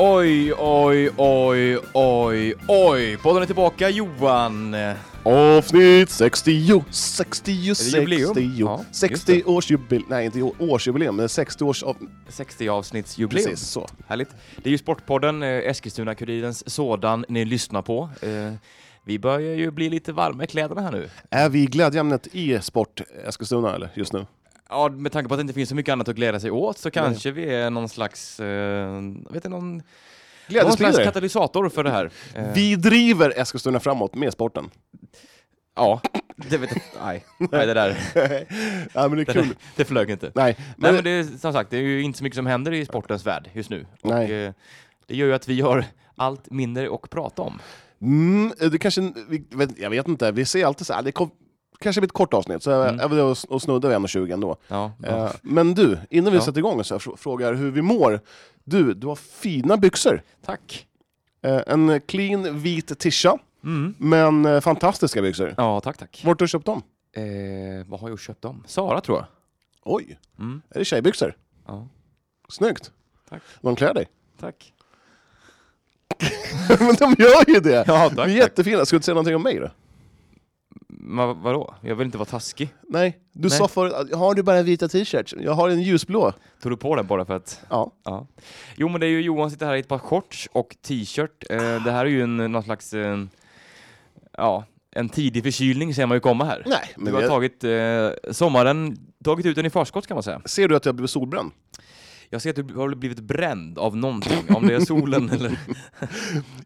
Oj, oj, oj, oj, oj! Podden är tillbaka Johan! Avsnitt 60, 60, det jubileum? 60, Ja, just 60 års jubileum, nej inte år- årsjubileum, men 60 års av, 60-avsnittsjubileum. precis så. Härligt. Det är ju Sportpodden, eh, Eskilstuna-Kurirens sådan ni lyssnar på. Eh, Vi börjar ju bli lite varma i kläderna här nu. Är vi i glädjeämnet e-sport Eskilstuna eller just nu? Ja, med tanke på att det inte finns så mycket annat att glädja sig åt så kanske vi är någon slags, eh, jag vet inte, någon, någon slags Glädjespridare. katalysator för det här. Eh, Vi driver Eskilstuna framåt med sporten. Ja, det vet jag nej. nej, det där, ja, men det är det, kul. där, det flög inte. Nej, Nej, men, men det är, som sagt, det är ju inte så mycket som händer i sportens värld just nu. Och, Nej. eh, det gör ju att vi har allt mindre att prata om. mm, det kanske, vi, vet- jag vet inte, vi ser alltid så här, det kom, kanske blir ett kort avsnitt, så Mm. mm. jag, och snuddar vid 1,20 ändå. Ja, ja. Eh, Men du, innan vi Ja. sätter igång så här, fr- frågar hur vi mår. Du, du har fina byxor. Tack. Eh, En clean vit tisha, Mm. men eh, fantastiska byxor. Ja, tack, tack. Vart har du köpt dem? Eh, vad har jag köpt dem? Sara, tror jag. Oj, Mm. är det tjejbyxor? Ja, Snyggt. Tack. De klär dig. tack. men de gör ju det! Ja, De är tack. jättefina. Ska du inte säga någonting om mig då? Men vadå? Jag vill inte vara taskig. Nej, du Nej. sa förut att har du bara vita t-shirts? Jag har en ljusblå. Tog du på den bara för att... Ja. Ja. Jo, men det är ju Johan sitter här i ett par shorts och t-shirt. Eh, det här är ju en, någon slags... Eh, ja, en tidig förkylning ser man ju komma här. Nej, men Du har jag... tagit eh, sommaren, tagit ut den i förskott kan man säga. Ser du att jag blev solbränd? Jag ser att du har blivit bränd av någonting, om det är solen eller...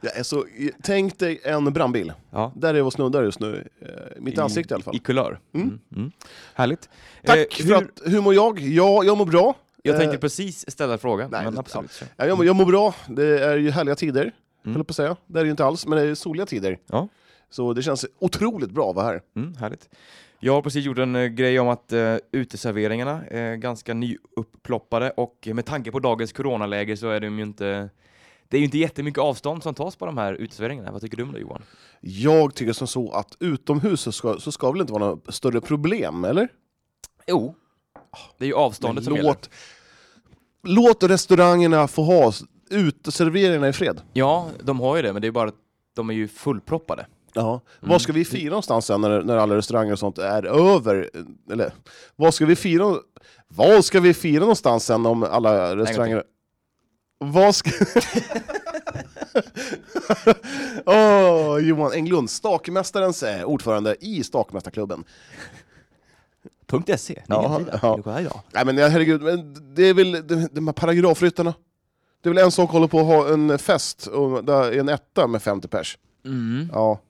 Jag är så... Tänk dig en brandbil. Ja. Där är jag och snuddar just nu. eh, Mitt ansikte i alla fall. I kulör. Mm. Mm. Mm. Härligt. Tack Eh, för hur- att... Hur mår jag? Ja, jag mår bra. Jag Eh, tänkte precis ställa frågan, nej, men det- absolut. Ja. Ja, jag, mår- jag mår bra. Det är ju härliga tider, Mm. höll jag på att säga. Det är det ju inte alls, men det är soliga tider. Ja. Så det känns otroligt bra att vara här. Mm, härligt. Jag har precis gjort en eh, grej om att eh, uteserveringarna är ganska nyupploppade och eh, med tanke på dagens coronaläge så är de ju inte... Det är ju inte jättemycket avstånd som tas på de här uteserveringarna. Vad tycker du om det Johan? Jag tycker som så att utomhus så ska, så ska väl inte vara några större problem, eller? Jo. Det är ju avståndet som gäller. låt, låt restaurangerna få ha s- uteserveringarna i fred. Ja, de har ju det, men det är ju bara att de är ju fullproppade. Ja. Vad ska vi fira någonstans sen när, när alla restauranger och sånt är över? Eller, vad ska vi fira, vad ska vi fira någonstans sen om alla restauranger... Vad ska... Åh, Johan Englund, stakmästarens eh, ordförande i stakmästarklubben. Punkt E, .se, Ja, nygensida. ja. Du kollar idag. Nej men ja, herregud, men det är väl de, de här paragrafryttarna. Det är väl en sak håller på att ha en fest och där är en etta med 50 pers. Mm. Ja.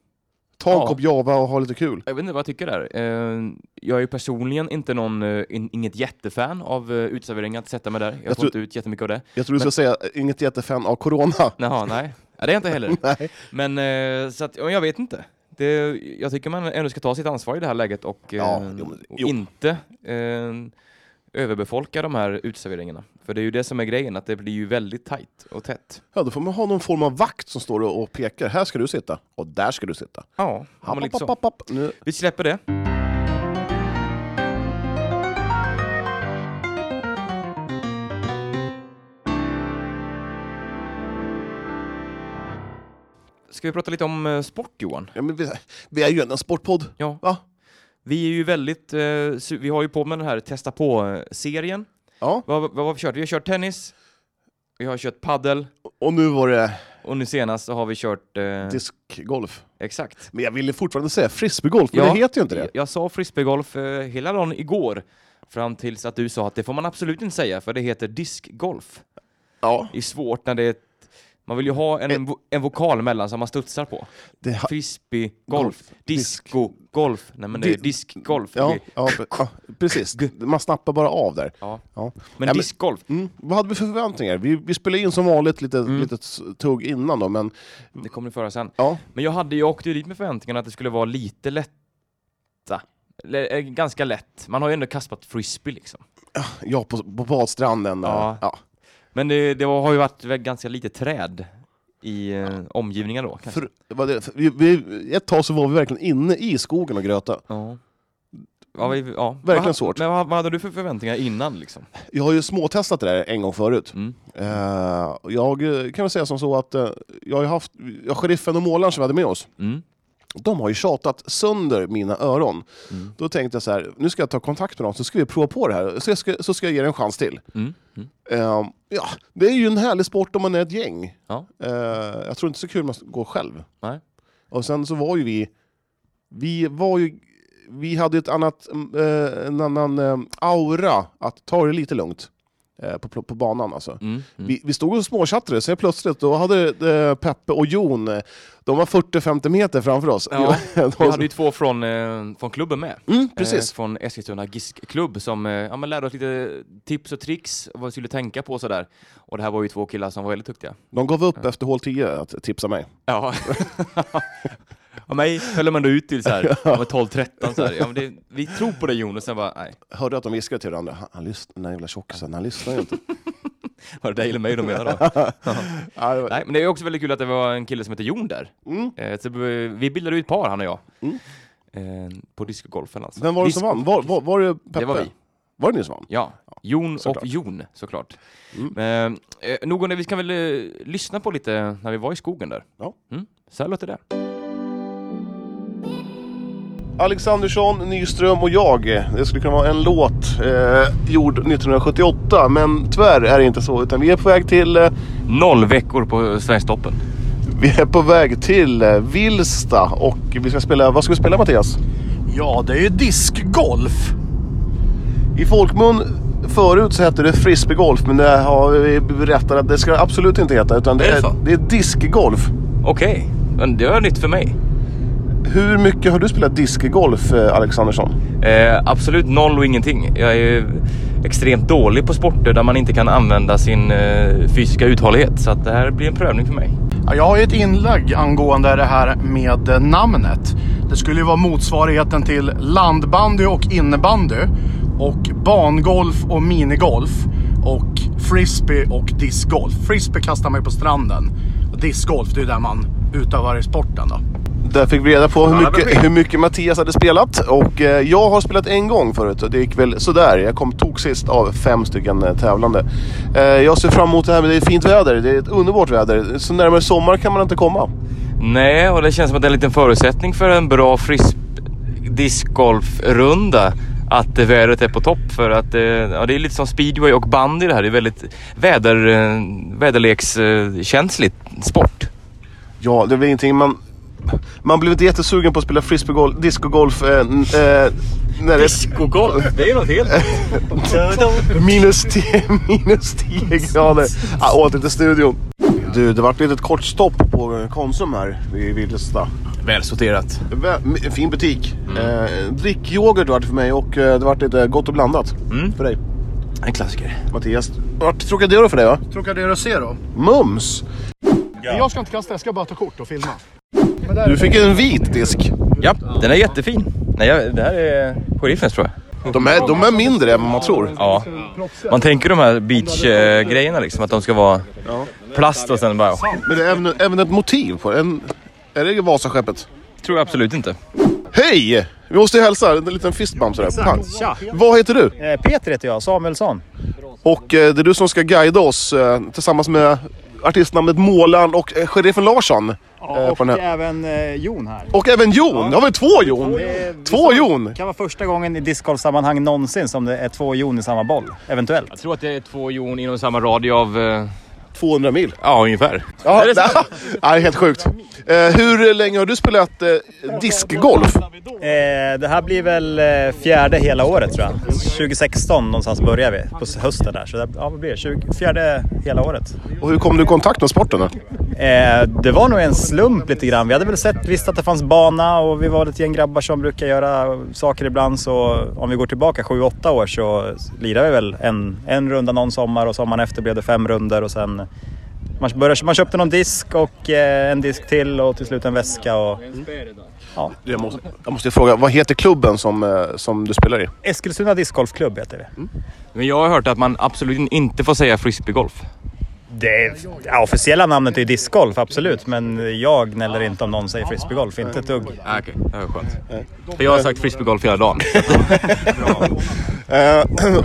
Ta en Ja. kopp java och ha lite kul. Jag vet inte vad jag tycker där. Eh, Jag är ju personligen inte någon, eh, in, inget jättefan av eh, uteserveringar att sätta mig där. Jag, Jag får tror- inte ut jättemycket av det. Jag tror du ska säga inget jättefan av corona. Jaha, nej. Ja, det är jag inte heller. Nej. Men eh, så att, ja, jag vet inte. Det, jag tycker man ändå ska ta sitt ansvar i det här läget och, eh, Ja, jo, men- och jo. inte eh, överbefolka de här uteserveringarna. För det är ju det som är grejen, att det blir ju väldigt tajt och tätt. Ja, då får man ha någon form av vakt som står och och pekar. Här ska du sitta och där ska du sitta. Ja, Happ, men liksom- lite happ, så. happ, happ. Nu. Vi släpper det. Ska vi prata lite om eh, sport Johan? Ja, men vi, vi är ju ändå en sportpodd. Ja. Va? Vi är ju väldigt, eh, su- vi har ju på med den här testa på-serien. Ja. Vad, vad, vad har vi kört? Vi har kört tennis, vi har kört paddel Och nu var det och nu senast så har vi kört... Eh, diskgolf. exakt. Men jag ville fortfarande säga frisbeegolf, men Ja. det heter ju inte det. Jag, jag sa frisbeegolf eh, hela dagen igår, fram tills att du sa att det får man absolut inte säga, för det heter diskgolf. Ja. Det är svårt när det är ett, Man vill ju ha en, vo, en vokal mellan som man studsar på. Det ha- Frisbeegolf, Golf. disco-golf. Nej men det är Di- diskgolf. Ja, ja, pre- ja, precis. Man snappar bara av där. Ja. Ja. Men Ja, men- discgolf, Mm. Vad hade vi för förväntningar? Vi, vi spelade in som vanligt lite Mm. litet s- tugg innan då, men det kommer du föra sen. ja. Men jag hade ju åkt dit med förväntningarna att det skulle vara lite lätta. Eller, eh, ganska lätt. Man har ju ändå kastat frisbee liksom. Ja, på, på badstranden. Ja. Ja. Ja. Men det, det var, har ju varit väl ganska lite träd i eh, omgivningen då kanske. För, vad det, för, vi, vi, ett tag så var vi verkligen inne i skogen och gröta. Ja. Ja, vi, ja. Verkligen Vad- svårt. Men vad, vad hade du för förväntningar innan liksom? Jag har ju småtestat det där en gång förut. Mm. Eh, jag eh, kan väl säga som så att eh, jag har ju haft, ja, sheriffen och målaren som vi hade med oss, Mm. de har ju tjatat sönder mina öron. Mm. Då tänkte jag så här, nu ska jag ta kontakt med dem så ska vi prova på det här, så, jag ska, så ska jag ge det en chans till. Mm. Mm. Eh, ja, det är ju en härlig sport om man är ett gäng. Ja. Eh, jag tror inte så kul man går själv. Nej. Och sen så var ju vi, vi var ju, vi hade ett annat, mm, eh, en annan eh, aura att ta det lite lugnt eh, på, pl- på banan alltså. Mm. Mm. Vi, vi stod och småtjattrade, sen plötsligt då hade eh, Peppe och Jon, eh, de var 40-50 meter framför oss. Ja, De var Vi så- hade ju två från, eh, från klubben med. mm, precis. Eh, från Eskilstuna GISK-klubb som eh, ja, men lärde oss lite tips och tricks vad vi skulle tänka på och sådär. Och det här var ju två killar som var väldigt duktiga. De gav upp efter hål 10 att tipsa mig. Ja. och mig höll man då ut till såhär, ja. 12-13 såhär. Ja, men det, vi tror på dig Jon och sen bara, nej. Hörde att de viskade till varandra, han, han lyssnar, den där jävla tjockisen, han lyssnar ju inte. Var det dig eller mig de menade då? Ja, det var- nej, men det är också väldigt kul att det var en kille som heter Jon där. mm. Eh, så vi vi bildade ju ett par, han och jag. Mm. Eh, på discogolfen alltså. Vem var det som Disco- vann? Var, var, var det Peppe? Det var vi. Var det ni som vann? Ja, Jon såklart. och Jon såklart. Mm. Mm. Eh, nog om det, vi kan väl eh, lyssna på lite när vi var i skogen där. Ja. Mm. Så här låter det. Alexandersson, Nyström och jag. Det skulle kunna vara en låt eh, gjord 1978, men tyvärr är det inte så. Utan vi är på väg till, eh, Noll veckor på Sverigetoppen. vi är på väg till eh, Vilsta och vi ska spela, vad ska vi spela Mattias? Ja, det är ju diskgolf. I folkmun förut så hette det frisbeegolf, men det har vi berättat att det ska det absolut inte heta. Utan det Är det är, så? det är diskgolf. Okej, men det var nytt för mig. Hur mycket har du spelat diskgolf eh, Alexandersson? Eh, absolut noll och ingenting. Jag är ju extremt dålig på sporter där man inte kan använda sin eh, fysiska uthållighet. Så att det här blir en prövning för mig. Ja, jag har ju ett inlägg angående det här med eh, namnet. Det skulle ju vara motsvarigheten till landbandy och innebandy och bangolf och minigolf och frisbee och discgolf. Frisbee kastar man ju på stranden. Och Discgolf, det är ju där man utövar i sporten då. Där fick vi reda på hur Alla mycket, besked. hur mycket Mattias hade spelat. Och eh, jag har spelat en gång förut och det gick väl sådär. Jag kom tog sist av fem stycken eh, tävlande. Eh, jag ser fram emot det här med det är fint väder. Det är ett underbart väder. Så närmare sommar kan man inte komma. Nej, och det känns som att det är en liten förutsättning för en bra frisb discgolfrunda. Att eh, vädret är på topp för att eh, ja, det är lite som speedway och bandy det här. Det är väldigt väder, eh, väderlekskänsligt sport. Ja, det är väl ingenting man... Man blev inte jättesugen på att spela frisbeegolf, discogolf. Eh, n- eh, när det Discogolf, det är ju något helt minus 10, minus 10 grader. Ah, åter till studion. Du, det vart ett litet kort stopp på eh, Konsum här vid Vilsta. Välsorterat. Vä- m- Fin butik. Mm. Eh, drickyoghurt vart det för mig och eh, det vart lite gott och blandat. Mm. För dig En klassiker. Mattias. Vart Trocadero för dig va? Trocadero Zero. Mums! Jag ska inte kasta, jag ska bara ta kort och filma. Du fick en vit disk. Ja, den är jättefin. Nej, jag, det här är sheriffens tror jag. De är, de är mindre än vad man tror. Ja. Man tänker de här beach-grejerna liksom, att de ska vara plast och sen bara... Men det är även, även ett motiv på en, Är det Vasaskeppet? tror jag absolut inte. Hej! Vi måste ju hälsa. En liten fistbump sådär. Pang. Tja! Vad heter du? Eh, Peter heter jag, Samuelsson. Och eh, det är du som ska guida oss eh, tillsammans med artistnamnet Målan och eh, sheriffen Larsson. eh, och på den här. även eh, Jon här. och även Jon. Det har vi två Jon. är- Två Jon. Det kan vara första gången i discgolfsammanhang någonsin som det är två Jon i samma boll, eventuellt. Jag tror att det är två jon inom samma radie av... eh, 200 mil. Ja, ungefär. Ja, det är nej, helt sjukt. Eh, hur länge har du spelat eh, diskgolf? Eh, det här blir väl eh, fjärde hela året tror jag. 2016 någonstans börjar vi, på s- hösten där. Så det, ja, vad blir det? 20, fjärde hela året. Och hur kom du i kontakt med sporten? då? Eh, det var nog en slump lite grann. Vi hade väl sett, visst att det fanns bana och vi var ett gäng grabbar som brukar göra saker ibland. Så om vi går tillbaka 7-8 år så lirade vi väl en, en runda någon sommar och sommaren efter blev det fem runder och sen man, började, man köpte någon disk och eh, en disk till och till slut en väska. Och Jag måste, jag måste fråga, vad heter klubben som, eh, som du spelar i? Eskilstuna discgolfklubb heter vi. Men jag har hört att man absolut inte får säga frisbeegolf. Det ja, officiella namnet är ju discgolf, absolut. Men jag gnäller inte om någon säger frisbeegolf. Inte ett dugg. Ah, Okej, det var skönt. För jag har sagt frisbeegolf hela dagen. Eh,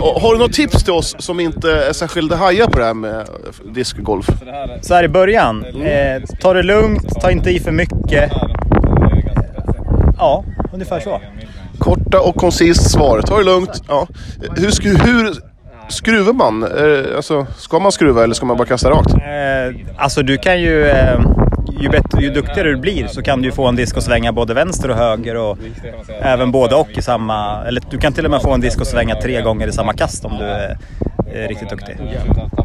och har du något tips till oss som inte är särskilt hajar på det här med eh, discgolf? Så här i början. Eh, ta det lugnt, ta inte i för mycket. Ja, ungefär så. Korta och koncist svar. Ta det lugnt. Ja. Hur, skru, hur skruvar man? Eh, Alltså, ska man skruva eller ska man bara kasta rakt? Eh, alltså du kan ju... Eh, ju, bättre, ju duktigare du blir så kan du ju få en disk att svänga både vänster och höger och även både och i samma... Eller du kan till och med få en disk att svänga tre gånger i samma kast om du är, är riktigt duktig.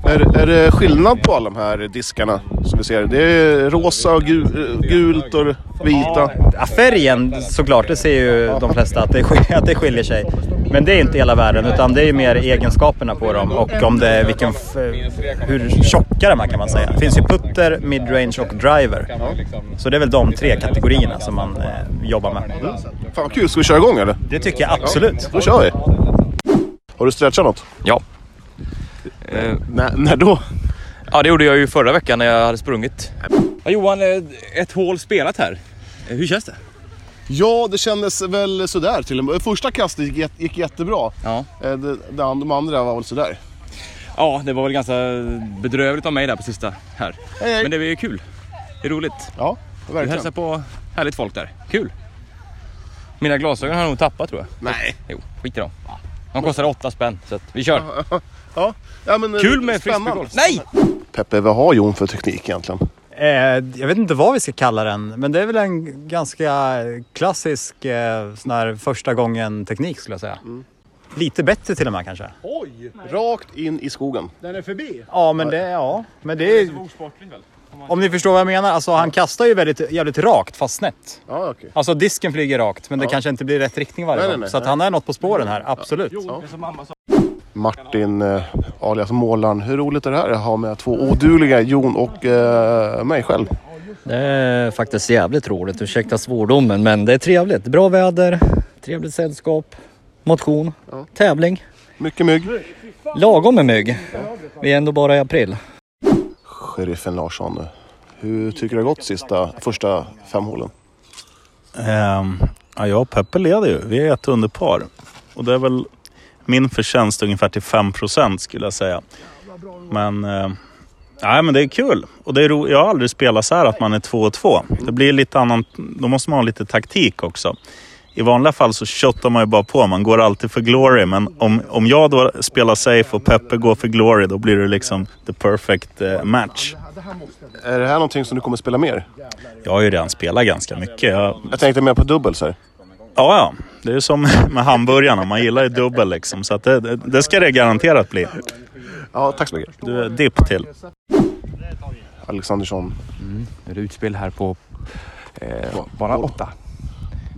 Är, är det skillnad på alla de här diskarna som vi ser? Det är rosa och gu- eh, gult och vita. Ja, färgen såklart, det ser ju de flesta att det, skiljer, att det skiljer sig. Men det är inte hela världen utan det är ju mer egenskaperna på dem och om det, vilken, f- hur tjocka de är kan man säga. Det finns ju putter, midrange och driver. Så det är väl de tre kategorierna som man eh, jobbar med. Fan vad kul. Ska vi köra igång eller? Det tycker jag absolut. Då kör vi. Har du stretchat något? Ja. Eh, När, när då? Ja, det gjorde jag ju förra veckan när jag hade sprungit. Ja, Johan, eh, ett hål spelat här. Eh, Hur känns det? Ja, det kändes väl sådär till en början. Första kastet gick, jätte- gick jättebra. Ja. Eh, Det, det and- de andra var väl sådär. ja, det var väl ganska bedrövligt av mig där på sista här. Hej, hej. Men det var ju kul. Det är roligt. Ja, Du verkligen. hälsar på härligt folk där. Kul! Mina glasögon har jag nog tappat tror jag. Nej. Jo, skit i dem. De kostar åtta spänn, så att vi kör. Ja. Ja, men, eh, Kul med spännande. frisbeegolf. Nej! Peppe, vad har Jon för teknik egentligen? Eh, jag vet inte vad vi ska kalla den, men det är väl en ganska klassisk eh, sån här första gången teknik skulle jag säga. Lite bättre till och med kanske. Oj! Rakt in i skogen. Den är förbi. Ja, men det, ja. Men det är... Om ni förstår vad jag menar. Alltså, han kastar ju väldigt, jävligt rakt fast snett. Ja, okej. Alltså disken flyger rakt, men det kanske inte blir rätt riktning varje Nej, nej, gång. nej. Så att han är något på spåren här, absolut. Martin eh, alias Målaren. Hur roligt är det här att ha med två odugliga, Jon och eh, mig själv? Det är faktiskt jävligt roligt, ursäkta svordomen, men det är trevligt. Bra väder, trevligt sällskap, motion, tävling, Mycket mygg. lagom med mygg. Vi är ändå bara i april. Sheriffen Larsson, hur tycker du det har gått sista, första fem hålen? Ehm, ja, jag och Peppe leder ju. Vi är ett underpar. Och det är väl min förtjänst ungefär till 5% skulle jag säga. Men, eh, nej, men det är kul. Och det är ro- jag har aldrig spelat så här att man är två och två. Det blir lite annan, då måste man ha lite taktik också. I vanliga fall så köttar man ju bara på. Man går alltid för glory. Men om, om jag då spelar safe och Peppe går för glory, då blir det liksom the perfect eh, match. Är det här någonting som du kommer spela mer? Jag har ju redan spelat ganska mycket. Jag Jag tänkte mer på dubbel så här. Ja, ja. Det är ju som med hamburgarna. Man gillar ju dubbel liksom. Så att det, det det ska det garanterat bli. Ja, tack så mycket. Du, dipp till. Alexandersson. Nu är det utspel här på eh, bana 8.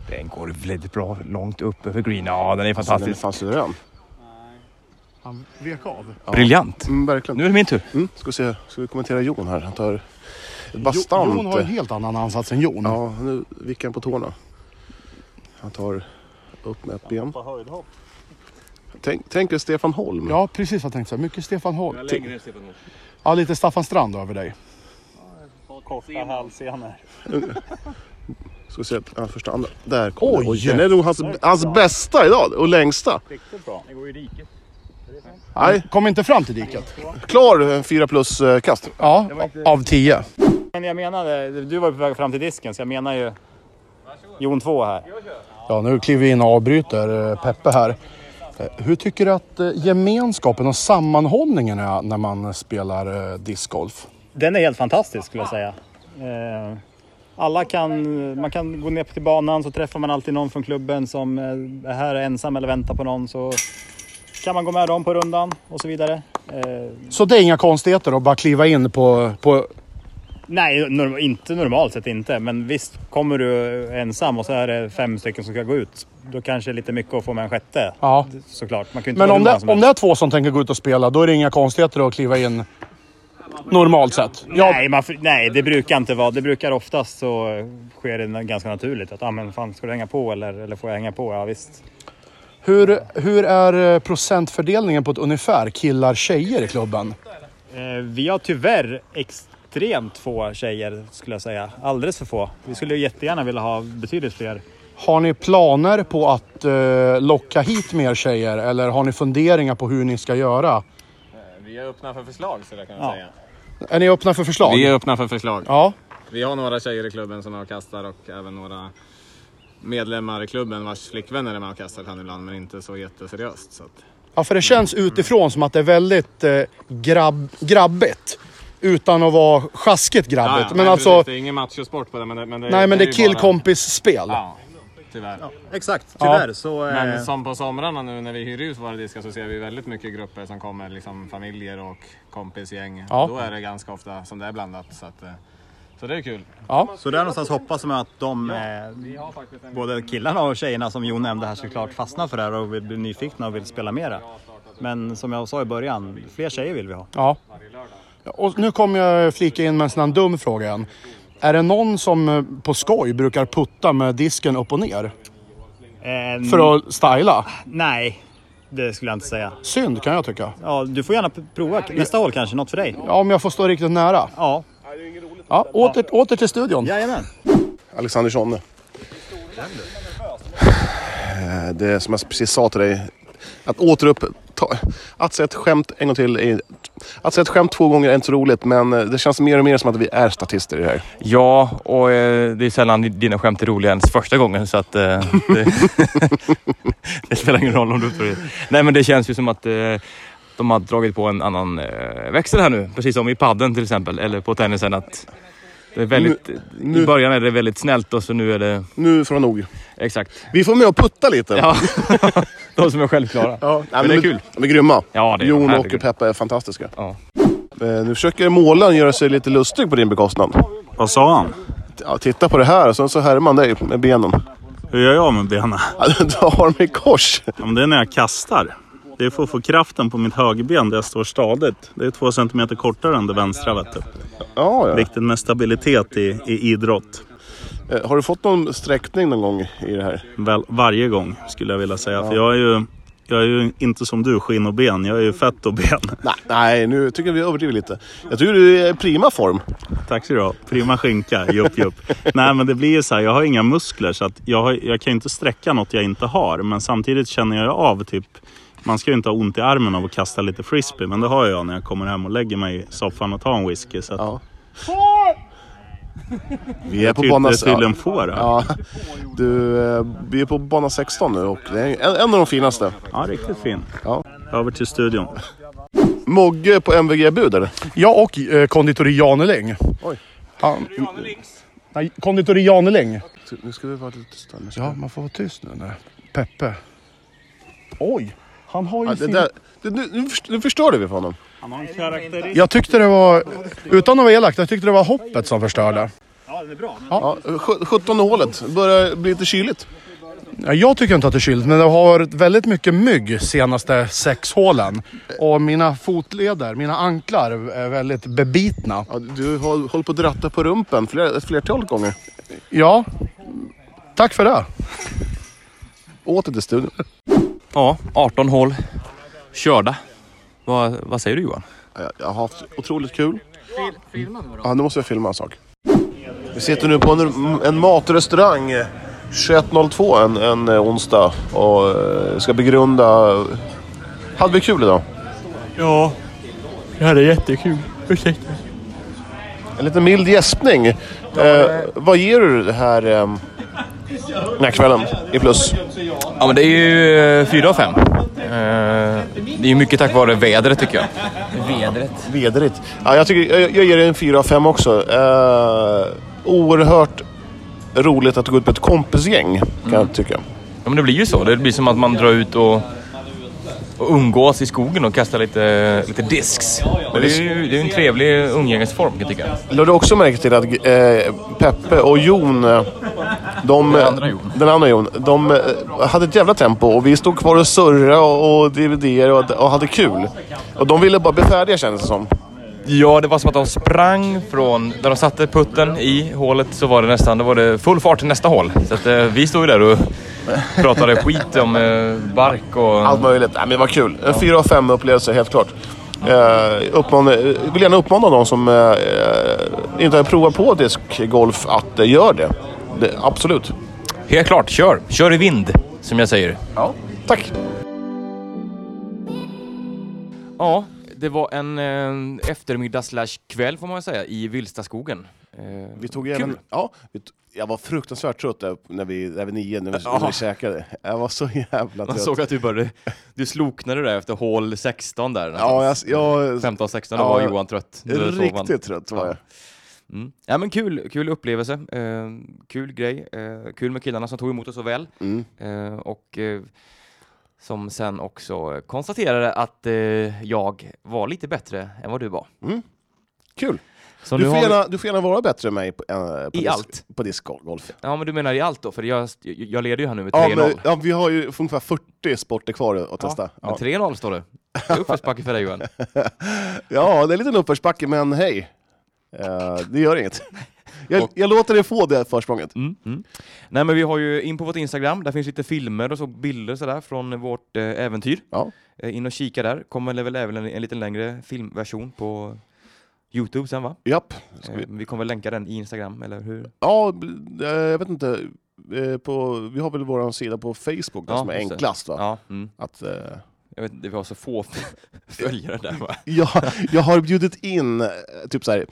Den går väldigt bra långt upp över green. Ja, den är Den är fantastisk. fan suverän. Han vek av. Briljant! Mm, verkligen. Nu är det min tur. Mm, ska, vi se. ska vi kommentera Jon här? Han tar ett Jo- bastant. Jon har en helt annan ansats än Jon. Ja, nu vickar han på tårna. Han tar upp med ett ben. Tänk, tänk dig Stefan Holm. Ja, precis vad jag tänkte säga. Mycket Stefan Holm. Ja, lite Staffan Strand över dig. Ska se, ja, första, andra. Där kom Oj. Oj, Den är nog hans, hans bästa idag och längsta. Nej, Kom inte fram till diket. klar 4 plus eh, kast. Ja, av tio. Men jag menade, du var ju på väg fram till disken, så jag menar ju Jon 2 här. Ja, nu kliver vi in och avbryter eh, Peppe här. Eh, Hur tycker du att eh, gemenskapen och sammanhållningen är när man spelar eh, discgolf? Den är helt fantastisk skulle jag säga. Eh, Alla kan, man kan gå ner till banan så träffar man alltid någon från klubben som eh, är här ensam eller väntar på någon så kan man gå med dem på rundan och så vidare. Eh, Så det är inga konstigheter att bara kliva in på... på Nej, norm- inte normalt sett inte. Men visst, kommer du ensam och så är det fem stycken som ska gå ut. Då kanske det är lite mycket att få med en sjätte. ja. Såklart. Man kan ju inte Men vara om hur det, många som om det helst. är två som tänker gå ut och spela, då är det inga konstigheter att kliva in normalt sett? Ja, Nej, man, får- nej, det brukar inte vara. Det brukar oftast så sker det na- ganska naturligt. Att ah, men fan, ska du hänga på eller, eller får jag hänga på? Ja visst. hur, hur är eh, procentfördelningen på ett ungefär killar-tjejer i klubben? Eh, Vi har tyvärr extremt få tjejer skulle jag säga. Alldeles för få. Vi skulle ju jättegärna vilja ha betydligt fler. Har ni planer på att eh, locka hit mer tjejer eller har ni funderingar på hur ni ska göra? Vi är öppna för förslag så det kan Ja. jag säga. Är ni öppna för förslag? Vi är öppna för förslag. Ja. Vi har några tjejer i klubben som avkastar och även några medlemmar i klubben vars flickvänner är med och kastar kan ibland men inte så jätteseriöst. Så att... ja, för det känns utifrån som att det är väldigt eh, grabb, grabbigt. Utan att vara sjaskigt grabbigt. Ja, ja, men nej, alltså, precis, det är ingen machosport på det men det, men det nej men det är ju bara- killkompisspel. Ja, tyvärr. Exakt, tyvärr så... eh, Men som på somrarna nu när vi hyr ut våra diskar så ser vi väldigt mycket grupper som kommer, liksom familjer och kompisgäng. Ja. Då är det ganska ofta som det är blandat. Så, att, eh, så det är kul. Så där någonstans hoppas man att de, eh, både killarna och tjejerna som Jon nämnde här såklart fastnar för det här och vill bli nyfikna och vill spela mera. Men som jag sa i början, fler tjejer vill vi ha. Ja. Och nu kommer jag flika in med en sån här dum fråga igen. Är det någon som eh, på skoj brukar putta med disken upp och ner? Eh, För att styla? Nej, det skulle jag inte säga. Synd kan jag tycka. Ja, du får gärna p- prova nästa hål kanske, något för dig. Ja, om jag får stå riktigt nära. Ja, Ja, åter, åter till studion. jajamän. Alexandersson. Eh, Det som jag precis sa till dig. Att återupp... Ta, att säga ett skämt en gång till är, Att säga ett skämt två gånger är inte så roligt, men eh, det känns mer och mer som att vi är statister i det här. Ja, och eh, det är sällan dina skämt är roliga ens första gången så att eh, det, det spelar ingen roll om du tror det. Nej, men det känns ju som att eh, de har dragit på en annan eh, växel här nu. Precis som i padden till exempel, eller på tennisen. Att det är väldigt, I nu- början är det väldigt snällt och så nu är det Nu får det nog. exakt. Vi får med och putta lite. Ja, de som är självklara. Ja, nej, men det är de- kul. De är grymma. Ja, det är de. Jon och Herregud. Peppa är fantastiska. Ja. Eh, Nu försöker målaren göra sig lite lustig på din bekostnad. Vad sa han? Ja, titta på det här och sen så härmar man dig med benen. Hur gör jag med benen? Ja, Du har dem i kors. Ja, men det är när jag kastar. Det är för att få kraften på mitt högerben där jag står stadigt. Det är två centimeter kortare än det vänstra. Vet du. Ja, ja. Viktigt med stabilitet i, i idrott. Eh, Har du fått någon sträckning någon gång i det här? Väl, varje gång skulle jag vilja säga. För jag är, ju, jag är ju inte som du, skinn och ben. Jag är ju fett och ben. Nej, nej nu tycker jag vi överdriver lite. Jag tycker du är i prima form. Tack så du ha. Prima skinka. Jupp, jupp. Nej, men det blir ju så här. Jag har inga muskler så att jag, har, jag kan ju inte sträcka något jag inte har. Men samtidigt känner jag ju av typ man ska ju inte ha ont i armen av att kasta lite frisbee, men det har jag när jag kommer hem och lägger mig i soffan och tar en whisky. Så att Ja. Vi är på Ty- bana... typ det är tydligen får. Ja. Ja, du, eh, vi är på bana 16 nu och det är en, en av de finaste. ja, riktigt fin. Ja. Över till studion. Mogge på MVG-bud eller? Jag och eh, konditori Janeling. Oj. Han, nej, konditori Janeling. Nu ska vi vara lite tysta. Nu ska Ja, vi- man får vara tyst nu när Peppe. Oj, han har ju Ja, det sin... där, det, nu, nu först- nu förstörde vi för honom. Han har en karaktäristik. Jag tyckte det var, utan att vara elak, jag tyckte det var hoppet som förstörde. Ja, sj- 17 hålet. Börjar bli lite kyligt. Ja, Jag tycker inte att det är kyligt, men det har varit väldigt mycket mygg senaste sex hålen. Och mina fotleder, mina anklar är väldigt bebitna. Ja, du har hållit på att dratta på rumpen fler, ett flertal gånger. Ja, tack för det. Åter till studion. Ja, 18 hål körda. Vad, vad säger du Johan? Jag, jag har haft otroligt kul. Ja, nu måste jag filma en sak. Vi sitter nu på en, en matrestaurang. eh, 21.02 en, en eh, onsdag och eh, ska begrunda... Hade vi kul idag? Ja, jag hade jättekul. Ursäkta. En liten mild gäspning. Eh, vad ger du det här, ehm, den här kvällen i plus? Ja men det är ju eh, fyra av fem. Eh, Det är ju mycket tack vare vädret tycker jag. Vädret? Vederigt. Ja, jag, tycker, jag, jag ger det en 4 av 5 också. Eh, oerhört roligt att gå ut med ett kompisgäng kan Mm. jag tycka. Ja men det blir ju så. Det blir som att man drar ut och, och umgås i skogen och kastar lite, lite disks. Och det är ju det är ju en trevlig umgängesform kan jag tycka. Lade du också märke till att eh, Peppe och Jon, eh, de, den andra Jon. den andra Jon, de eh, hade ett jävla tempo och vi stod kvar och surrade och, och dividerade och, och hade kul. Och de ville bara bli färdiga kändes det som. Ja, det var som att de sprang från där de satte putten i hålet så var det nästan, då var det full fart till nästa hål. Så att, eh, vi stod ju där och pratade skit om eh, bark och... Allt möjligt. Nej, men det var kul. En 4 av 5 upplevelse helt klart. Eh, uppmana, eh, vill gärna uppmana de som eh, eh, inte har provat på discgolf att eh, gör det. det. Absolut. Helt klart, kör! Kör i vind, som jag säger. Ja. Tack! Ja, det var en eh, eftermiddag slash kväll får man säga i Vilstaskogen. Eh, Vi tog Kul. även... Ja, vi t- jag var fruktansvärt trött där när vi, när vi nio, när vi, när Ja. vi käkade. Jag var så jävla man trött. såg att du började, du sloknade där efter hål 16 där. Ja, jag, jag, 15-16, då Ja, var jag- Johan trött. Då sov han. riktigt trött var jag. Mm. Ja men kul, kul upplevelse, eh, kul grej, eh, kul med killarna som tog emot oss så väl. Mm. Eh, och eh, som sen också konstaterade att eh, jag var lite bättre än vad du var. Mm. Kul. Så Du nu får, har vi- gärna, du får gärna vara bättre än mig på, eh, på, I disk, allt. på discgolf. Ja men du menar i allt då, för jag, jag leder ju här nu med 3-0. Ja, men, ja, vi har ju ungefär 40 sporter kvar att testa. Men Ja, 3-0 står det. Det är uppförsbacke för dig Johan. ja det är en liten uppförsbacke, men hej. Eh, det gör inget. Jag, jag låter dig få det försprånget. Mm. Mm. Nej men vi har ju in på vårt Instagram, där finns lite filmer och så bilder sådär från vårt eh, äventyr. Ja. Eh, in och kika där, kommer väl även en, en lite längre filmversion på Youtube sen va? Japp. Ska Eh, vi... vi kommer väl länka den i Instagram, eller hur? Ja, b- eh, jag vet inte. Eh, På, vi har väl vår sida på Facebook alltså, Ja, som är just det. enklast. Va? Ja. Mm. Att, eh, Jag vet inte, vi har så få följare där va? jag, jag har bjudit in eh, typ så här,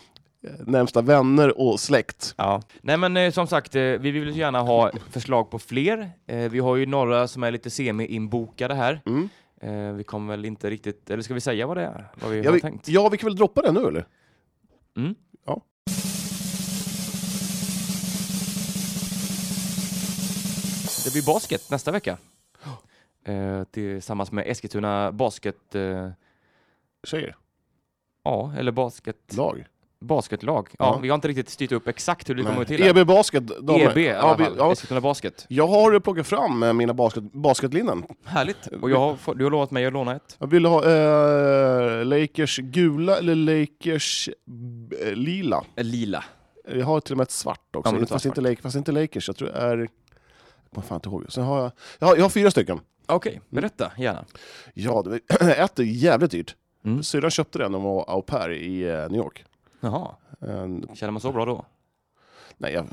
eh, närmsta vänner och släkt. Ja. Nej men eh, som sagt, eh, vi vill ju gärna ha förslag på fler. Eh, vi har ju några som är lite semi-inbokade här. Mm. Eh, vi kommer väl inte riktigt, eller ska vi säga vad det är? Vad vi Ja, har vi, tänkt? ja, vi kan väl droppa det nu eller? Mm. Ja. Det blir basket nästa vecka. Eh, tillsammans med Eskilstuna Basket... Eh, Tjejer? ja, eller basket, Lag? basketlag. Ja, Ja. E Vi har inte riktigt styrt upp exakt hur det kommer till. här. EB Basket? damer. EB i ja, alla vi, fall. ja, Eskilstuna Basket. Jag har plockat fram eh, mina basket, basketlinnen. Härligt. Och jag har, fått- du har lovat mig att låna ett. Jag vill ha eh, Lakers gula eller Lakers b- eh, lila. Lila. Jag har till och med ett svart också, Ja, men du tar fast, inte svart. Lakers, fast inte Lakers. Jag tror det är... Jag kommer fan inte ihåg. Sen har jag, jag, har, jag har fyra stycken. Okej, Mm. berätta gärna. Ja, det, ett är jävligt dyrt. Mm. Syrran köpte den när hon var au pair i eh, New York. Jaha, En- känner man så bra då? nej, jag,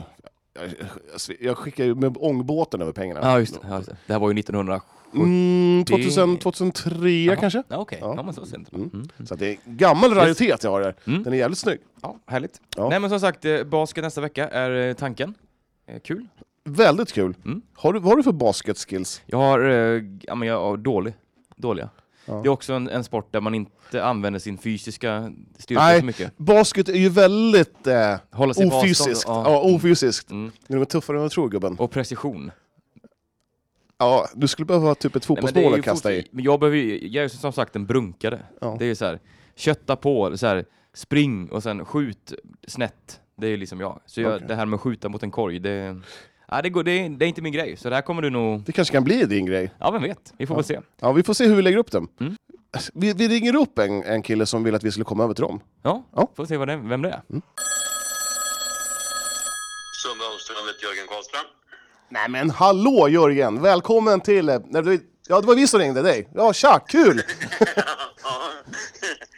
jag, jag, jag skickade ju med ångbåten över pengarna. Ja, just det. Ja, just det. det här var ju 1900... Mm, 2000, 2003 kanske? Ja, Okej, Ja. ja. men så sent. Mm. Mm. Så att det är en gammal raritet jag har där. Mm. Den är jävligt snygg. Ja, härligt. Ja. Nej men som sagt, eh, basket nästa vecka är eh, tanken. Eh, Kul. Väldigt kul. Mm. Har du, vad har du för basketskills? Jag har, eh, ja men jag har dålig. Dåliga. Ja. Det är också en, en sport där man inte använder sin fysiska styrka Nej. så mycket. Basket är ju väldigt eh, Hålla sig på avstånd, ofysiskt. ja. Ja, ofysiskt. Mm. Det är nog tuffare än jag tror gubben. Och precision. Ja, du skulle behöva typ ett Nej, men det är fotbollsmål ju att kasta i. fort- Men jag, behöver, ju- jag är ju som sagt en brunkare. Ja. Det är ju så här, kötta på, så här, spring och sen skjut snett. Det är liksom jag. Så jag, Okej. det här med att skjuta mot en korg, det, ja, det, går, det, är- det är inte min grej. Så det här kommer du nog, Det kanske kan bli din grej. ja vem vet, vi får väl se. Ja, vi får se hur vi lägger upp den. Mm. Vi, vi ringer upp en, en kille som vill att vi skulle komma över till dem. Ja, Ja. Mm, får se vad det, vem det är. Sunda Åströmmet, Jörgen Karlström. Nej men hallå Jörgen! Välkommen till... eh, Nej, det var- ja, det var vi som ringde dig. Ja, tja, kul! ja,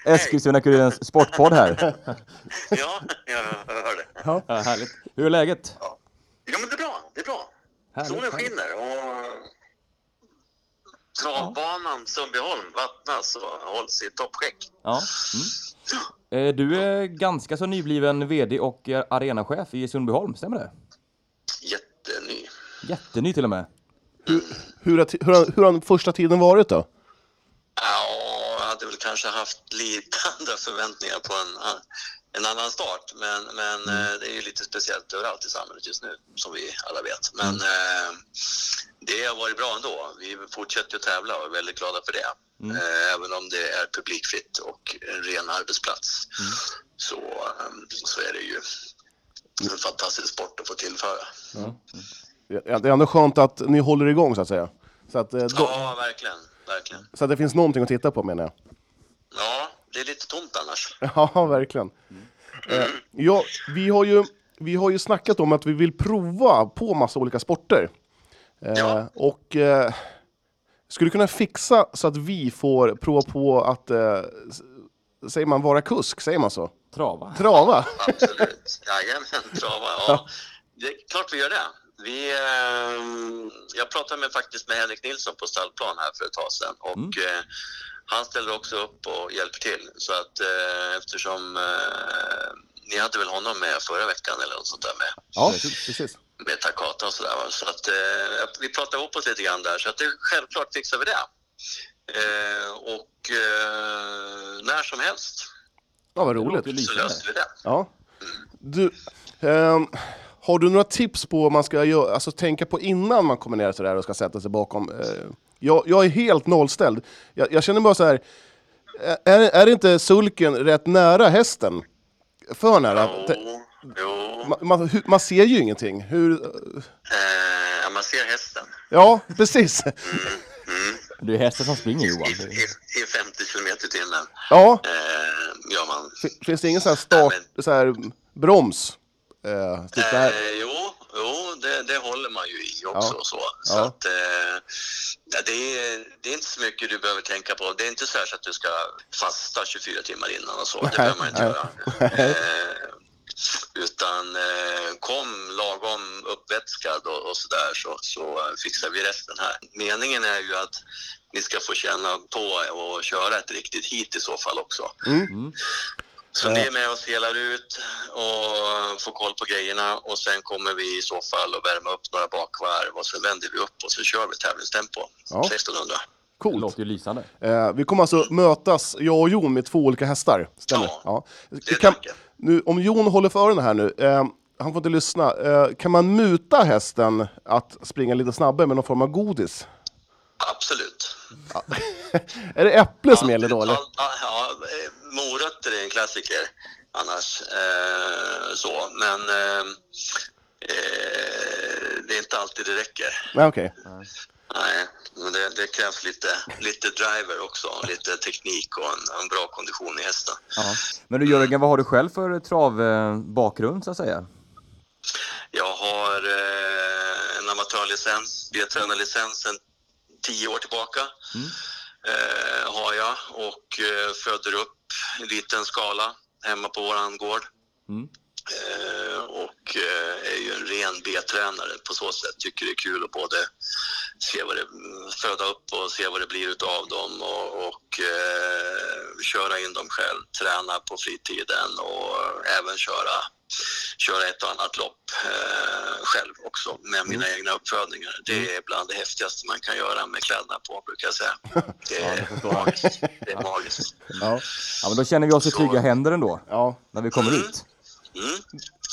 Eskilstuna-Kurirens sportpodd här. ja, jag hör det. ja, härligt. Hur är läget? Ja, men det är bra. Det är bra. Solen skinner och travbanan Sundbyholm vattnas och hålls i toppskick. Ja. Mm. Eh, Du är ganska så nybliven VD och eh, arenachef i Sundbyholm, stämmer det? Jätteny. Jätteny till och med. Hur har, ti- hur, har, hur har den första tiden varit då? Ja, jag hade väl kanske haft lite andra förväntningar på en, a- en annan start. Men, men eh, det är ju lite speciellt överallt i samhället just nu, som vi alla vet. Men eh, det har varit bra ändå. Vi fortsätter ju att tävla och är väldigt glada för det. Eh, Även om det är publikfritt och en ren arbetsplats så, eh, så är det ju en fantastisk sport att få tillföra. Ja, Det är ändå skönt att ni håller igång så att säga. Så att, eh, då, Ja, verkligen. verkligen. så att det finns någonting att titta på menar jag. Ja, det är lite tomt annars. Ja, verkligen. Eh, ja, vi, har ju, vi har ju snackat om att vi vill prova på massa olika sporter. Eh, Ja. Och eh, skulle du kunna fixa så att vi får prova på att eh, s- Säger man vara kusk? Säger man så? Trava. Trava? Absolut. Jajamän, trava. Ja. Det är klart vi gör det. Vi, ehm, jag pratade med, faktiskt med Henrik Nilsson på stallplan här för ett tag sedan och eh, han ställer också upp och hjälper till. Så att eh, eftersom eh, ni hade väl honom med förra veckan eller något sånt där med, Ja, precis. med Takata och sådär. va. Så att eh, vi pratade ihop oss lite grann där så att det, självklart fixar vi det. Eh, och eh, när som helst Ja, vad Det låter roligt. så löser vi det. Ja. Du, ehm, har du några tips på vad man ska göra, alltså, tänka på innan man kommer ner sådär och ska sätta sig bakom? Eh, jag, jag är helt nollställd. Jag, jag känner bara så här. eh, Är, är inte sulken rätt nära hästen? För nära? Te- Jo, jo. Man, man, hur- man ser ju ingenting. Hur, Eh, man ser hästen ja, precis. Det är hästen som springer Johan. i, i, i 50 kilometer i timmen. Ja, Eh, gör man. fi- finns det ingen sån här start, så här, broms? Eh, typ det här. Eh, jo, jo det, det håller man ju i också. Ja. och Så, så Ja. att, eh, ja, det, är, det är inte så mycket du behöver tänka på. Det är inte så, här så att du ska fasta 24 timmar innan och så. Det behöver man inte nej. göra. Eh, utan eh, kom lagom uppvätskad och, och sådär så, så fixar vi resten här. Meningen är ju att ni ska få känna på och köra ett riktigt hit i så fall också. Mm. Så ni är med och selar ut och får koll på grejerna och sen kommer vi i så fall att värma upp några bakvarv och sen vänder vi upp och så kör vi tävlingstempo. Ja. 1600. Det Coolt. låter ju lysande. Eh, vi kommer alltså mötas, jag och Jon, med två olika hästar. Stämmer? Ja, Ja. det är Kan, tanken. nu, om Jon håller för öronen här nu, eh, han får inte lyssna. Eh, kan man muta hästen att springa lite snabbare med någon form av godis? Absolut. Är det äpple som gäller då eller? Ja, ja, ja, eh, morötter är en klassiker annars. Eh, så, men eh, eh, det är inte alltid det räcker. Nej, okej. Nej, men det, det krävs lite, lite driver också, lite teknik och en, en bra kondition i hästen. Mm. Ja. Men du Jörgen, vad har du själv för travbakgrund så att säga? Jag har eh, en amatörlicens, B-tränarlicens sedan tio år tillbaka. Mm. Eh, har jag och eh, föder upp i liten skala hemma på våran gård. Mm. Eh, och eh, är ju en ren B-tränare på så sätt. Tycker det är kul att både se vad det, mm, föda upp och se vad det blir utav dem och, och eh, köra in dem själv, träna på fritiden och eh, även köra, köra ett och annat lopp eh, själv också med mina Mm. egna uppfödningar. Det är bland det häftigaste man kan göra med kläderna på brukar jag säga. Det är magiskt. Det är magiskt. Ja. Ja men då känner vi oss i trygga händer ändå, Ja. när vi kommer ut. Mm.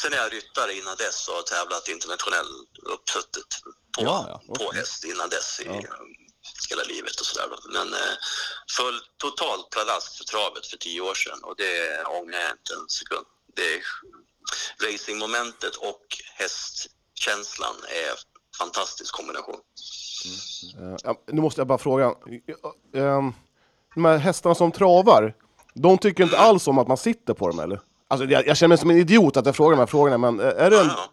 Sen är jag ryttare innan dess och har tävlat internationell uppsuttet på, Ja, ja. Okej. på häst innan dess i eh, hela livet och sådär. då. Men eh, föll totalt pladask för travet för tio år sedan och det ångrar jag inte en sekund. Det är, racingmomentet och hästkänslan är en fantastisk kombination. Eh, ja, nu måste jag bara fråga. Eh, ehm, de här hästarna som travar, de tycker inte alls om att man sitter på dem eller? Alltså, jag, jag känner mig som en idiot att jag frågar de här frågorna, men eh, är, det en, Ja.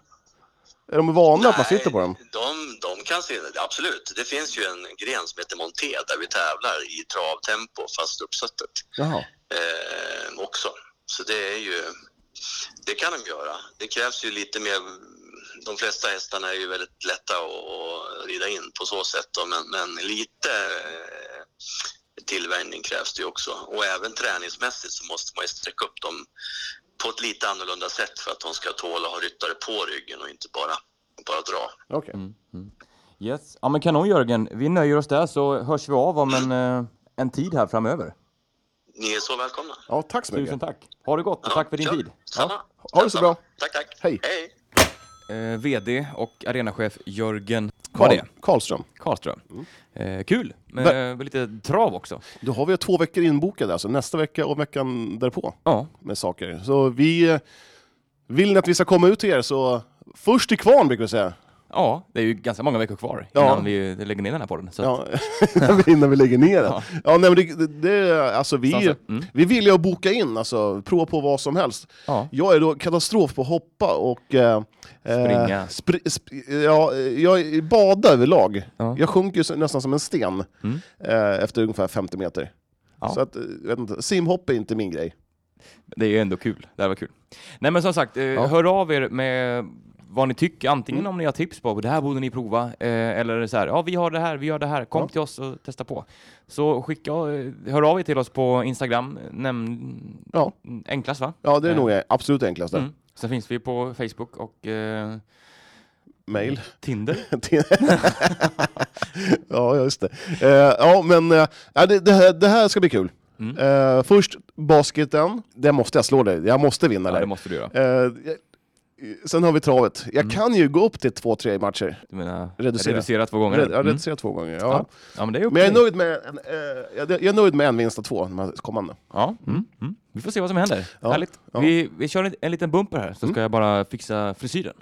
är de vana att man Nej, sitter på dem? De, de kan sitta, absolut. Det finns ju en gren som heter monté där vi tävlar i travtempo fast uppsuttet. Jaha. eh, också. Så det är ju, det kan de göra. Det krävs ju lite mer, de flesta hästarna är ju väldigt lätta att rida in på så sätt då, men, men lite eh, tillvänjning krävs det ju också. Och även träningsmässigt så måste man ju sträcka upp dem på ett lite annorlunda sätt för att de ska tåla att ha ryttare på ryggen och inte bara, bara dra. Okej. Yes. Ja men kanon Jörgen, vi nöjer oss där så hörs vi av om en, eh, en tid här framöver. Ni är så välkomna. Ja, tack så mycket. Tusen tack! Ha det gott och tack för din Ja, tid! Samma. Ha det så bra. Tack, tack. Hej. Hej. Eh, VD och arenachef Jörgen Karl- Mm. var det, Karlström. Karlström. Eh, kul! Med, med lite trav också. Då har vi två veckor inbokade, alltså nästa vecka och veckan därpå Ja, med saker. Så vi... eh, Vill ni att vi ska komma ut till er så först i kvarn brukar vi säga. ja det är ju ganska många veckor kvar Ja. innan vi eh, lägger ner den här podden. Så att, Ja, innan vi lägger ner den. Ja. nej, men det, det, det, alltså vi, Sansa. Mm. vi vill ju boka in, alltså, prova på vad som helst. ja. Jag är då katastrof på att hoppa och... Eh, eh, Springa. Spri, sp- ja, eh, jag badar överlag. Ja. Jag sjunker ju så- nästan som en sten Mm. eh, efter ungefär 50 meter. Ja. Så att, eh, jag vet inte, simhopp är inte min grej. Det är ju ändå kul. Det här var kul. Nej men som sagt, eh, hör av er med vad ni tycker. Antingen Mm. om ni har tips på det här borde ni prova. Eh, eller så här, ja vi har det här, vi gör det här. Kom till oss och testa på. Så skicka, eh, hör av er till oss på Instagram. Nämn, Ja. Enklast va? Ja, det är Ja. nog absolut enklast där. Mm. Sen finns vi på Facebook och eh, Mail. Tinder. Till- ja, just det. Eh, ja, men eh, ja, det, det, här, det här ska bli kul. Mm. Eh, först basketen. Det måste jag slå dig. Jag måste vinna Ja, det där. måste Mm. du göra. Eh, jag- sen har vi travet. Jag kan ju gå upp till två, tre matcher. Du menar Reducera. reducera, två gånger? Red, jag Mm. reducerar två gånger. Ja. Ja. Mm. Ja, men det är okej. Men jag är, nöjd med en, eh, jag, jag är nöjd med en vinst och två de här kommande. Ja, mm. Mm. vi får se vad som händer. Ja, Härligt. ja. Vi, vi kör en, en liten bumper här, så ska jag bara fixa frisyren.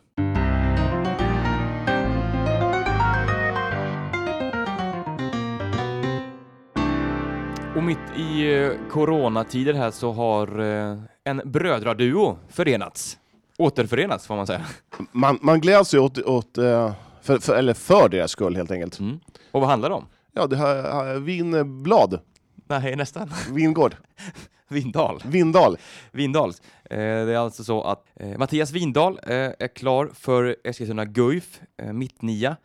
Och mitt i eh, coronatider här så har eh, en brödraduo förenats. Återförenats får man säga. Man, man gläds ju åt, åt eh, för, för, eller för deras skull helt enkelt. Mm. Och vad handlar det om? Ja, det här, här, Vinblad, Nej, nästan. Vingård, Vindal. Vindal. Vindals. Eh, det är alltså så att eh, Mattias Vindal eh, är klar för Eskilstuna Guif, eh, mittnia.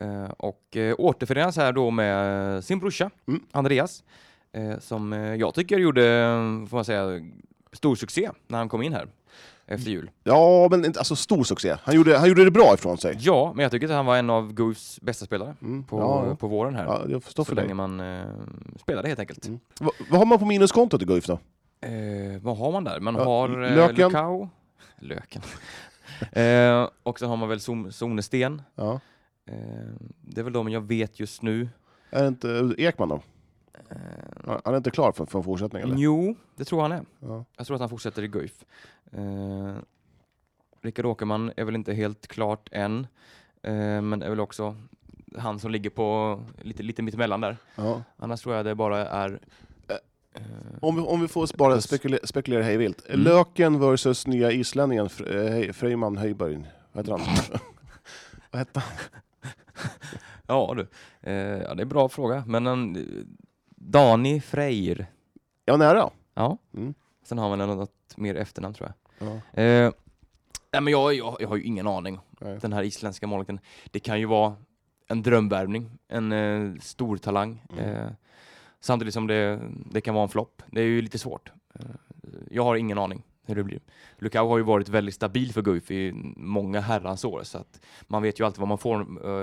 Eh, och eh, återförenas här då med eh, sin brorsa Mm. Andreas, eh, som eh, jag tycker gjorde, eh, får man säga, stor succé när han kom in här efter jul. Ja, men inte, alltså stor succé. Han gjorde, han gjorde det bra ifrån sig. Ja, men jag tycker att han var en av Guifs bästa spelare Mm. på, ja, ja. på våren här. ja, jag förstår så för länge dig. man eh, spelade helt enkelt. Va, vad har man på minuskontot i Guif då? Eh, vad har man där? Man Ja, har eh, löken. Lukau. Löken. eh, och sen har man väl Zon- Zonesten. Ja. Eh, det är väl de jag vet just nu. Är det inte Ekman då? Eh, Han han är inte klar för, för en fortsättning eller? jo, det tror han är. Ja. Jag tror att han fortsätter i Guif. Eh, Rickard Åkerman är väl inte helt klart än. Eh, men är väl också han som ligger på lite, lite mittemellan där. Ja. Annars tror jag det bara är... Eh, Om, vi, om vi får bara spekulera, spekulera hej vilt. Löken versus nya islänningen Fre- eh, Hej- Freyman Höjberg. Vad heter han? Vad hette han? ja du, eh, ja, det är en bra fråga. Men eh, Dani Freyr. Jag var nära. Ja. Mm. Sen har man något mer efternamn tror jag. Ja. Eh, nej, men jag, jag, jag har ju ingen aning. Nej. Den här isländska målvakten. Det kan ju vara en drömvärvning, en eh, stor talang. Mm. Eh, samtidigt som det, det kan vara en flopp. Det är ju lite svårt. Eh, jag har ingen aning hur det blir. Lukau har ju varit väldigt stabil för Guif i många herrans år så att man vet ju alltid vad man får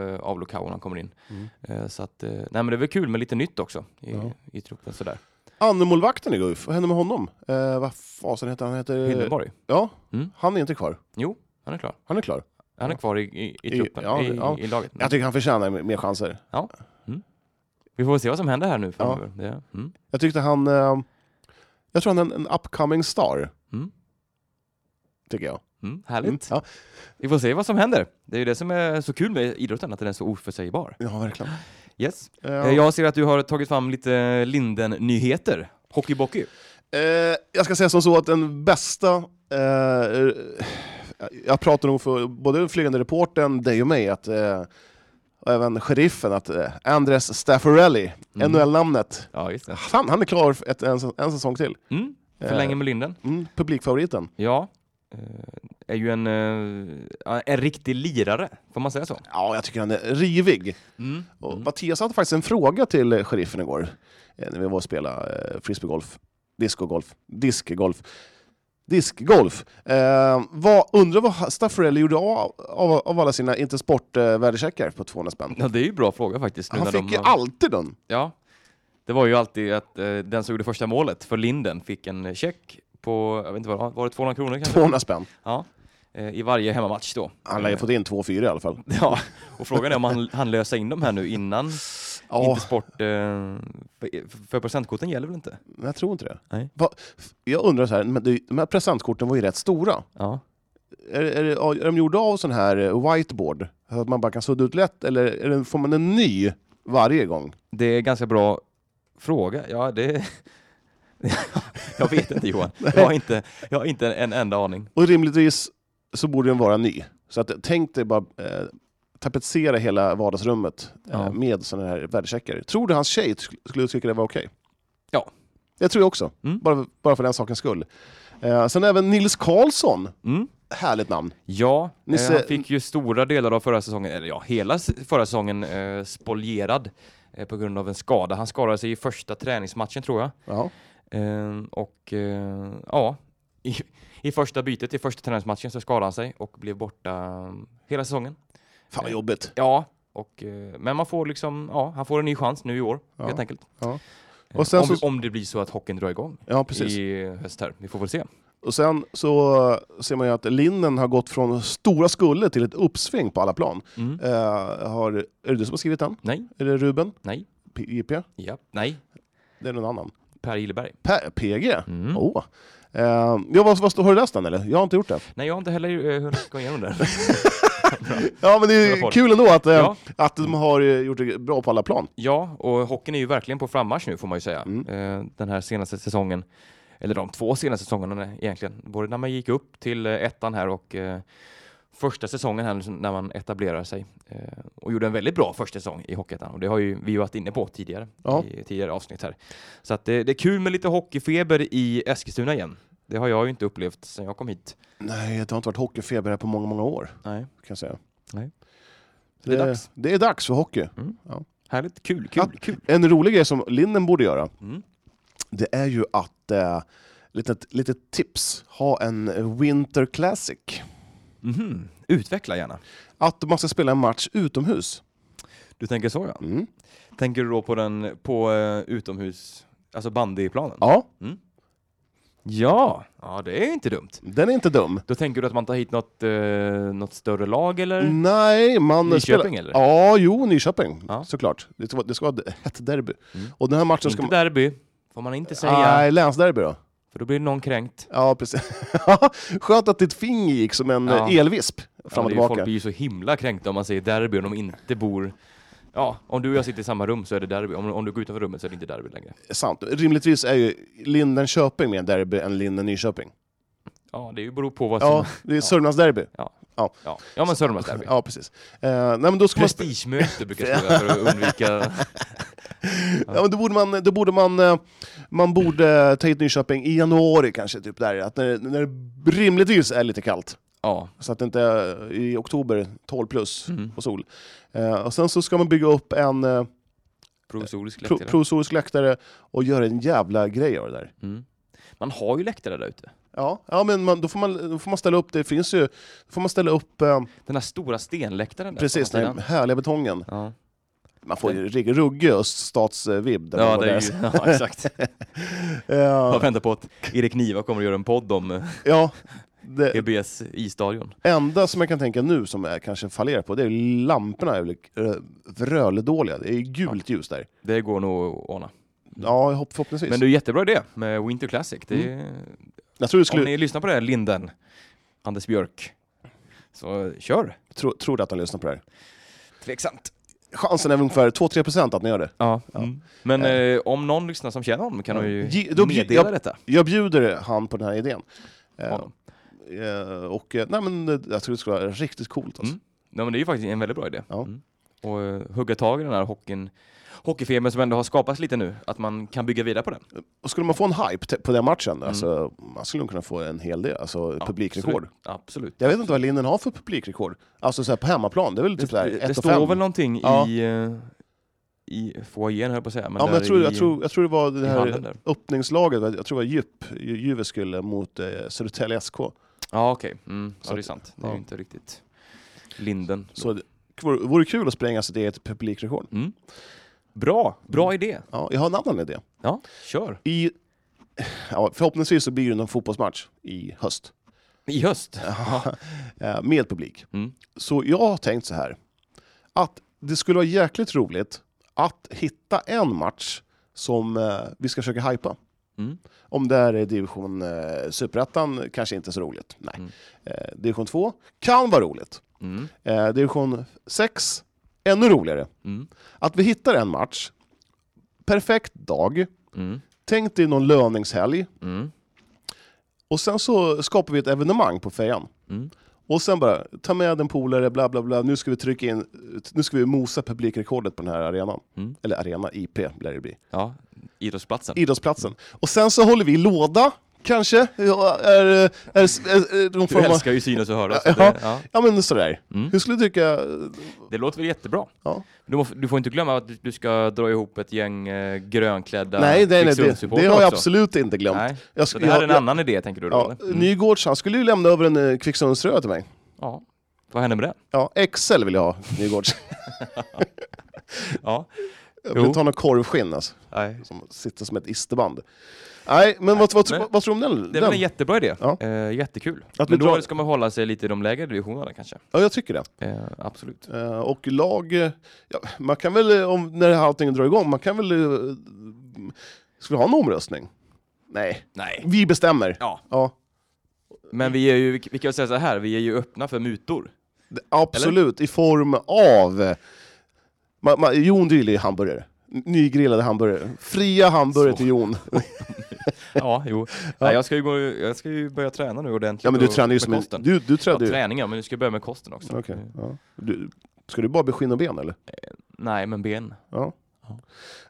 eh, av Lukau när han kommer in. Mm. Eh, så att, eh, nej men det är väl kul med lite nytt också i, Ja. i truppen sådär. Annemålvakten i Guif, vad hände med honom? Eh, vad fasen heter han? han? Heter... Hildenborg, Ja, Mm. han är inte kvar. han är klar. Han är klar. Han är Ja. kvar i, i, i I- truppen, ja, i, ja. i laget. Jag tycker han förtjänar mer mer chanser. Vi får väl se vad som händer här nu framöver. Det, mm. Jag tyckte han... Eh, jag tror han är en, en upcoming star. Mm. Tycker jag. Mm. Härligt. Mm, Ja. Vi får se vad som händer. Det är ju det som är så kul med idrotten, att den är så oförsägbar. ja, verkligen. Yes. Eh, Eh, Jag ser att du har tagit fram lite Linden-nyheter. Hockeybockey. Eh, jag ska säga som så att den bästa... Eh, jag pratar nog för både flygande reporten, dig och mig, att, eh, och även sheriffen, att eh, Andres Staffarelli, Mm. NHL-namnet. Ja, just det. Fan, han är klar för ett, en, en säsong till. Mm. Eh, Förlänga med Linden. Mm, publikfavoriten. Ja. Eh, Är ju en, eh, en riktig lirare, får man säga så? Ja, jag tycker han är rivig. Mm. Och Mattias hade faktiskt en fråga till eh, sheriffen igår, eh, när vi var och spelade eh, frisbeegolf, discogolf, diskgolf. Diskgolf. Eh, vad, undrar vad Staffarelli gjorde av, av, av alla sina Intersport-värdecheckar på 200 spänn? Ja, det är ju en bra fråga faktiskt. nu Han när fick de ju har- alltid den. Ja, det var ju alltid att eh, den som gjorde första målet för Linden fick en check på, jag vet inte vad det var, var det 200 kronor kanske? 200 spänn. Ja, eh, i varje hemmamatch då. Eh, Han lär ju fått in 2-4 i alla fall. Ja, och frågan är om han, han lösa in dem här nu innan Ja. inte sport, eh, för, för procentkorten gäller väl inte? Men jag tror inte det. Nej. Va, jag undrar så här, men det- de här presentkorten var ju rätt stora. Ja. Är, är, det- är de gjorda av sån här eh, whiteboard? Så att man bara kan sudda ut lätt, eller är det, får man en ny varje gång? Det är ganska bra fråga. Ja, det... jag vet inte Johan. Jag har inte, jag har inte en enda aning. Och rimligtvis så borde den vara ny. Så att, tänk dig bara eh, tapetsera hela vardagsrummet Ja. eh, med sådana här värdecheckar. Tror du hans tjej sk- skulle tycka det var okej? Ja, Mm. Jag tror jag också. Bara, bara för den sakens skull. Eh, sen även Nils Karlsson. Mm. Härligt namn. Ja, eh, Nisse- han fick ju stora delar av förra säsongen, eller ja, hela s- förra säsongen eh, spolierad eh, på grund av en skada. Han skadade sig i första träningsmatchen tror jag. Ja. Eh, och eh, ja, i, i första bytet, i första träningsmatchen så skadade han sig och blev borta mm, hela säsongen. Fan vad jobbigt. Ja, och, eh, men man får liksom, ja, han får en ny chans nu i år Ja, helt enkelt. ja. Eh, Och sen om, så- vi- om det blir så att hockeyn drar igång Ja, precis. i höst här. Vi får väl se. Och sen så eh, ser man ju att linnen har gått från stora skulder till ett uppsving på alla plan. Mm. Eh, har, är det du som har skrivit den? Nej, Är det Ruben? nej, P- JP? ja, nej. Det är någon annan. Per Gilleberg. Per, PG? Mm. Åh. Eh, ja, vad, vad, står- har du läst den eller? Jag har inte gjort det. Nej, jag har inte heller eh, hunnit gå igenom det. Ja, men det Bra är folk. kul ändå att, eh, Ja. att de har eh, gjort det bra på alla plan. Ja, och hockeyn är ju verkligen på frammarsch nu får man ju säga. Mm. Eh, Den här senaste säsongen, eller de två senaste säsongerna egentligen. Både när man gick upp till eh, ettan här och eh, första säsongen här när man etablerar sig. Eh, Och gjorde en väldigt bra första säsong i Hockeyettan och det har ju vi ju varit inne på tidigare Ja. i tidigare avsnitt här. Så att det, det är kul med lite hockeyfeber i Eskilstuna igen. Det har jag ju inte upplevt sedan jag kom hit. Nej, det har inte varit hockeyfeber här på många, många år. Nej. Kan jag säga. Nej. Det är dags. Det är dags för hockey. Härligt, kul, kul, Ja, kul. En rolig grej som linnen borde göra, Mm. det är ju att, eh, litet, litet tips, ha en Winter Classic. Mhm. Utveckla gärna. Att man ska spela en match utomhus. Du tänker så ja. Mm. Tänker du då på den på eh, utomhus, alltså bandyplanen? Ja, Ja, ja det är ju inte dumt. den är inte dum. Då tänker du att man tar hit något, eh, något större lag eller? Mm. Nej, man... Nyköping, eller? Ja, jo, Nyköping. Ja. Mm. Såklart. Det ska, vara- det ska vara ett derby. Och den här matchen Inte ska man... derby, får man inte säga. Nej, länsderby då. För då blir någon kränkt. Ja, precis. Skönt att ditt finger gick som en Ja. eh, elvisp Ja, fram det och är ju, folk tillbaka. blir ju så himla kränkta om man säger derby och de inte bor... Ja, om du och jag sitter i samma rum så är det derby. Om, om du går utanför rummet så är det inte derby längre. Sant. Rimligtvis är ju Linden-Köping mer derby än Linden-Nyköping. Ja, det är ju beror på vad som... Ja, det är Sörmlandsderby. Ja, ja men Sörmlandsderby. Ja, precis. Eh, nej, men då, ska man spe- Prestigemöte brukar jag skriva för att undvika... ja, men då borde man, då borde man, eh, man borde ta hit Nyköping i januari kanske, typ där. Att när, när det rimligtvis är lite kallt. Ja, Så att det inte är i oktober 12 plus Mm. och sol. Eh, och sen så ska man bygga upp en eh, provisorisk pro, läktare. provisorisk läktare och göra en jävla grej av det där. Mm. Man har ju läktare där ute. Ja, ja men man, då, får man, då får man ställa upp, det finns ju, då får man ställa upp eh, Den här stora stenläktaren där. precis på andra den sidan. härliga betongen. Ja, Man får ju riktigt ruggig öststatsvibb. där man ja, går det är där. ju, ja exakt. Jag Eh, väntar på att Erik Niva kommer att göra en podd om eh, E ja, det, EBS i-stadion. enda som jag kan tänka nu som jag kanske fallerar på, det är ju lamporna är väl, eh, röldåliga. Det är ju gult ljus där. Det går nog att ordna. Ja, jag hopp- förhoppningsvis. Men det är jättebra idé med Winter Classic. Det är, jag tror du Om skulle, ni lyssnar på det här, Linden, Anders Björk, så kör! tro, tror att de lyssnar på det här. Tveksamt. Chansen är väl ungefär 2-3% att ni gör det. Ja. Mm. Men eh, om någon lyssnar som känner honom kan de ju Ge- då bjud- meddela jag- detta. Jag bjuder han på den här idén. Eh, Honom. eh, och eh, nej, men eh, jag tror det skulle vara riktigt coolt. Alltså. Mm. Ja, men det är ju faktiskt en väldigt bra idé. Ja. Mm. Och eh, hugga tag i den här hockeyn, hockeyfebern som ändå har skapats lite nu, att man kan bygga vidare på den. Och skulle man få en hype te- på den matchen, alltså, man skulle nog kunna få en hel del. Alltså, Mm. Ja, publikrekord. Absolut. absolut. Jag vet inte vad Linden har för publikrekord. Alltså så här, på hemmaplan, det är väl typ det, det, 1 det 5. står väl någonting Ja. i, eh, i foajén höll jag på att säga. Men Ja, men jag, där tror, i, jag, tror, jag tror det var i det hallen här där. öppningslaget, jag tror det var Djup, Ju- Jyväskylä mot eh, Södertälje SK. Ja okej, mm, ja, Så det är att- sant. Det är ja. ju inte riktigt Linden. Så det vore- vore kul att spränga sitt eget publikrekord. Mm. Bra, bra Mm. idé. Ja, jag har en annan idé. Ja, kör. I, ja, förhoppningsvis så blir det någon fotbollsmatch i höst I höst. eh, med publik. Mm. Så jag har tänkt så här, att det skulle vara jäkligt roligt att hitta en match som eh, vi ska försöka hypa. Mm. Om det här är division eh, superettan, kanske inte så roligt. Nej. Mm. Eh, division 2 kan vara roligt. Mm. Eh, division 6, ännu roligare. Mm. Att vi hittar en match, perfekt dag, Mm. tänk dig någon löningshelg, Mm. och sen så skapar vi ett evenemang på fejan. Mm. Och sen bara, ta med en polare, bla bla bla. Nu ska vi trycka in, nu ska vi mosa publikrekordet på den här arenan. Mm. Eller arena, IP lär det bli. Ja, idrottsplatsen. Idrottsplatsen. Och sen så håller vi låda, kanske. Ja, Är, är, är, är någon Du form av... älskar ju synas och höras. så Ja. Det, ja. Ja men sådär. Mm. Hur skulle du tycka? det låter väl jättebra. Ja. Du, må, du får inte glömma att du, du ska dra ihop ett gäng eh, grönklädda nej, nej, nej det, Kvicksundsupportrar det har jag också. absolut inte glömt. Nej. Jag Så sk- det här är jag- en jag- annan idé tänker du då? Ja, eller? Mm. Nygårds, han skulle ju lämna över en eh, Kvicksundsröd till mig. ja. Vad händer med det? Ja, XL vill jag ha, Nygårds. Ja. Jag vill Jo. ta någon korvskinn alltså, Nej. som sitter som ett isterband. Nej, men vad, vad, men- vad, vad tror du om den? Det är väl en den? jättebra idé. Ja. Eh, jättekul. Att Men vi då drar- ska man hålla sig lite i de lägre divisionerna kanske. Ja, jag tycker det. Eh, absolut. Eh, och lag, eh, ja, man kan väl, eh, om, när det här allting drar igång, man kan väl... eh, Ska vi ha en omröstning? Nej, Nej. vi bestämmer. Ja. Ja, Men vi är ju, vi kan ju säga så här, vi är ju öppna för mutor. det- absolut, i form av... eh, Ma, ma, Jon gillar ju hamburgare. N- Nygrillade hamburgare. Fria hamburgare till Jon. Ja, jo. Nej, jag, ska ju gå, jag ska ju börja träna nu ordentligt. Ja men du och- tränar ju med som en... kosten. Du, du Ja, tränar ju... träningen, men nu ska jag börja med kosten också. Okej, ja. Du- Ska du bara bli skinn och ben eller? Nej, men ben. Ja.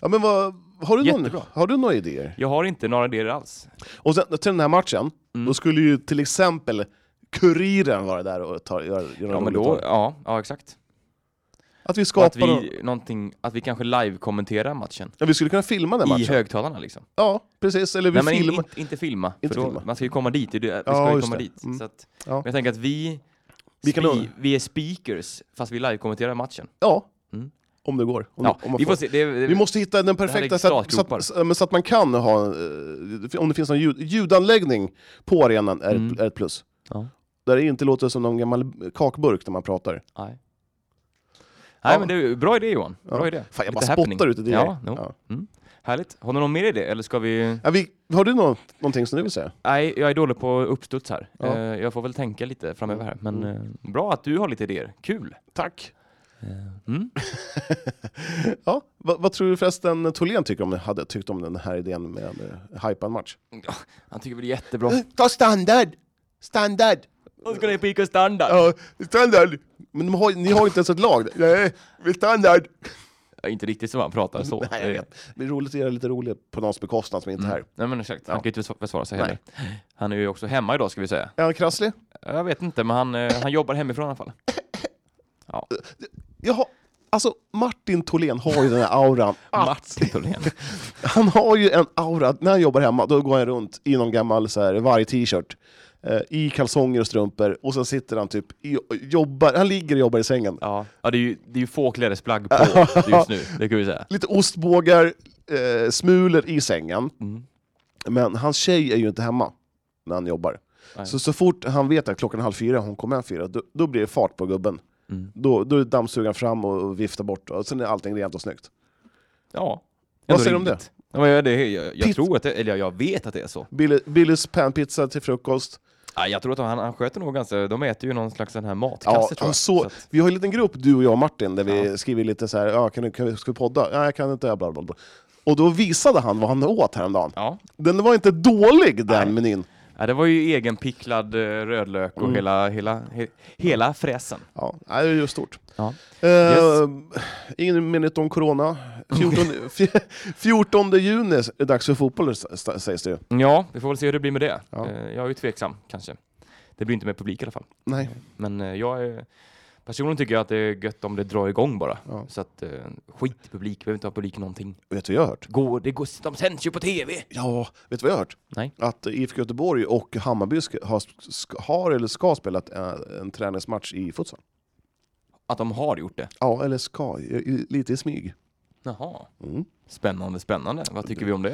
Ja men vad... Har du, någon, Jättebra. har du några idéer? Jag har inte några idéer alls. Och sen, till den här matchen, Mm. då skulle ju till exempel Kuriren vara där och ta, göra, göra Ja, men roligt då, av det. ja, ja exakt. Att Och vi att skapar... Vi... vi, någonting, att vi kanske live-kommenterar matchen. Ja, vi skulle kunna filma den I matchen. högtalarna liksom. Ja, precis. Eller vi Nej, men in, filmar... inte, inte filma. Inte för då, filma. Man ska ju komma dit. det är det- Vi ska Ja, ju just komma det. dit. Mm. Så att, Ja. men Jag tänker att vi, Vi kan spe, nog- vi är speakers, fast vi live-kommenterar matchen. Ja. Mm. Om det går. Om, Ja, om man vi får. får se. Det, det, Vi måste hitta den här är perfekta, så att, så, startgropar. att, så, men så att man kan ha, eh, om det finns någon ljud, ljudanläggning på arenan är, Mm. ett, är ett plus. Ja. Där det inte låter som någon gammal kakburk när man pratar. Nej. Nej Ja. men det är bra idé Johan. Bra idé. Fan, jag Lite bara happening. spottar ut idéer. Ja, no. Ja. Härligt. Har du någon mer idé eller ska vi? Ja, vi, har du nå, någonting som du vill säga? Nej, jag är dålig på uppstuds här. Ja. Mm. Eh, Jag får väl tänka lite framöver här. Men eh, bra att du har lite idéer. Kul. Tack! Mm. Eh, Ja, vad, vad tror du förresten Tholén tycker om, hade tyckt om den här idén med en eh, hypad match? Han tycker väl det är jättebra. Ta standard! Standard! Då ska ni pika standard. Ja, standard! Men de har, ni har ju inte ens ett lag. Nej, vi standard! Ja, Inte riktigt som han pratar så. Nej, jag vet. Det är roligt att göra lite roligt på någons bekostnad som inte är här. Nej men exakt, han Ja. kan ju inte försvara sig Nej. heller. Han är ju också hemma idag ska vi säga. Är han krasslig? Jag vet inte, men han, eh, han jobbar hemifrån i alla fall. Jaha, alltså Martin Tholén har ju den här auran. Att, Martin Tholén. han har ju en aura, när han jobbar hemma, då går han runt i någon gammal så här, varg t-shirt. eh, I kalsonger och strumpor och sen sitter han typ i, och jobbar, han ligger och jobbar i sängen. Ja, ja det, är ju, det är ju få klädesplagg på just nu, det kan vi säga. Lite ostbågar, eh, smulor i sängen. Men hans tjej är ju inte hemma när han jobbar. Så, så fort han vet att klockan är halv fyra, hon kommer hem fyra, då, då blir det fart på gubben. Då, då är dammsugaren fram och, och viftar bort och sen är allting rent och snyggt. Ja. Vad Ändå säger du om rimligt. Ja, men jag, det, jag, jag Pizza. tror att det, eller jag, jag vet att det är så. Billy- Billys panpizza till frukost. Ja, jag tror att han, han sköter nog ganska, de äter ju någon slags sån här matkasse Ja, tror jag. så, att, vi har en liten grupp, du och jag och Martin, där vi skriver lite så här, ja, kan du, kan vi, ska vi podda? Ja, jag kan inte, bla bla bla. Och då visade han vad han åt häromdagen. ja. Den var inte dålig den menyn. ja, det var ju egenpicklad eh, rödlök Mm. och hela, hela, he, hela fräsen. Ja, nej, det är ju stort. Ja. Eh, Yes. Ingen minut om corona. 14, 14 juni är det dags för fotboll s- s- sägs det ju. ja, vi får väl se hur det blir med det. Ja. Eh, Jag är ju tveksam, kanske. Det blir inte med publik i alla fall. Nej. Men eh, jag är, personligen tycker jag att det är gött om det drar igång bara. Ja. Så att eh, skit i publik, behöver inte ha publik i någonting. Vet du vad jag har hört? Gå, det går, de sänds ju på TV! Ja, vet du vad jag har hört? Nej. Att IFK Göteborg och Hammarby ska, har, ska, har eller ska spela ett, eh, en träningsmatch i futsal. Att de har gjort det. Ja, eller ska, i- i- lite i smyg. Jaha. Mm. Spännande, spännande. Vad tycker vi om det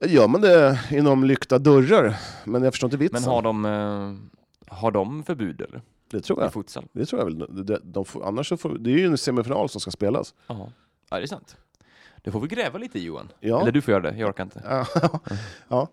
då? Gör man det inom lyckta dörrar? Men jag förstår inte vitsen. Men har de, eh, har de förbud eller? Det tror I jag. futsal? Det tror jag väl. De, de, de får, annars så får, det är ju en semifinal som ska spelas. Ja. ja, det är sant. Det får vi gräva lite i Johan. Ja. Eller du får göra det, jag orkar inte. Ja. ja.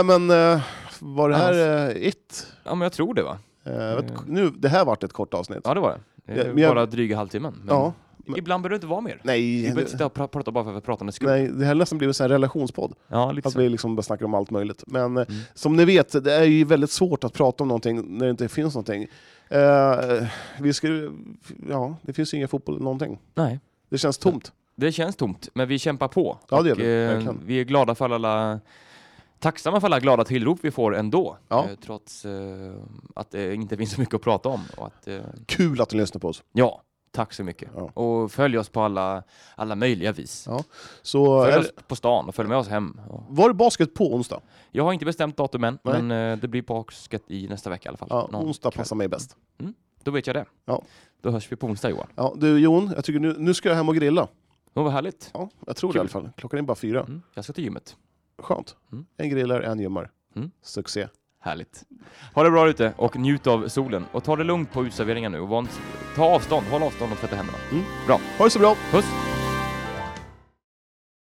Äh, men eh, var det här eh, it? Ja, men jag tror det va? Eh, vet- nu, det här vart ett kort avsnitt. Mm. Ja, det var det. Det Ja, är men jag- Bara dryga halvtimmen. men- Ja, Ibland behöver det inte vara mer. Vi Nej, behöver inte sitta och pra- prata bara för att prata med skull. nej, det här har nästan blivit en relationspodd. Ja, lite Att så. vi liksom bara snackar om allt möjligt. Men eh, Mm. som ni vet, det är ju väldigt svårt att prata om någonting när det inte finns någonting. Eh, vi skulle, ja, det finns ju ingen fotboll, någonting. Nej. Det känns tomt. Det känns tomt, men vi kämpar på. Ja, det gör Och, vi, eh, verkligen. vi är glada för alla tacksamma för alla glada tillrop vi får ändå. Ja. Eh, Trots eh, att det inte finns så mycket att prata om. Och att, eh, Kul att ni lyssnar på oss. ja, tack så mycket. Ja. Och följ oss på alla, alla möjliga vis. Så, Följ eller, oss på stan och följ med oss hem. Och var det basket på onsdag? Jag har inte bestämt datum än, Nej. men eh, det blir basket i nästa vecka i alla fall. Ja, Någon onsdag kväll. passar mig bäst. Då vet jag det. Ja. Då hörs vi på onsdag Johan. Ja, du Jon, jag tycker nu, nu ska jag hem och grilla. Det var härligt. Ja, jag tror det Kul. i alla fall. Klockan är bara fyra. Mm. Jag ska till gymmet. Skönt. Mm. En grillar, en gymmar. Mm. Succé. Härligt. Ha det bra ute och njut av solen. Och ta det lugnt på uteserveringar nu. Och var inte- ta avstånd, håll avstånd och tvätta händerna. Ha det så bra! Puss!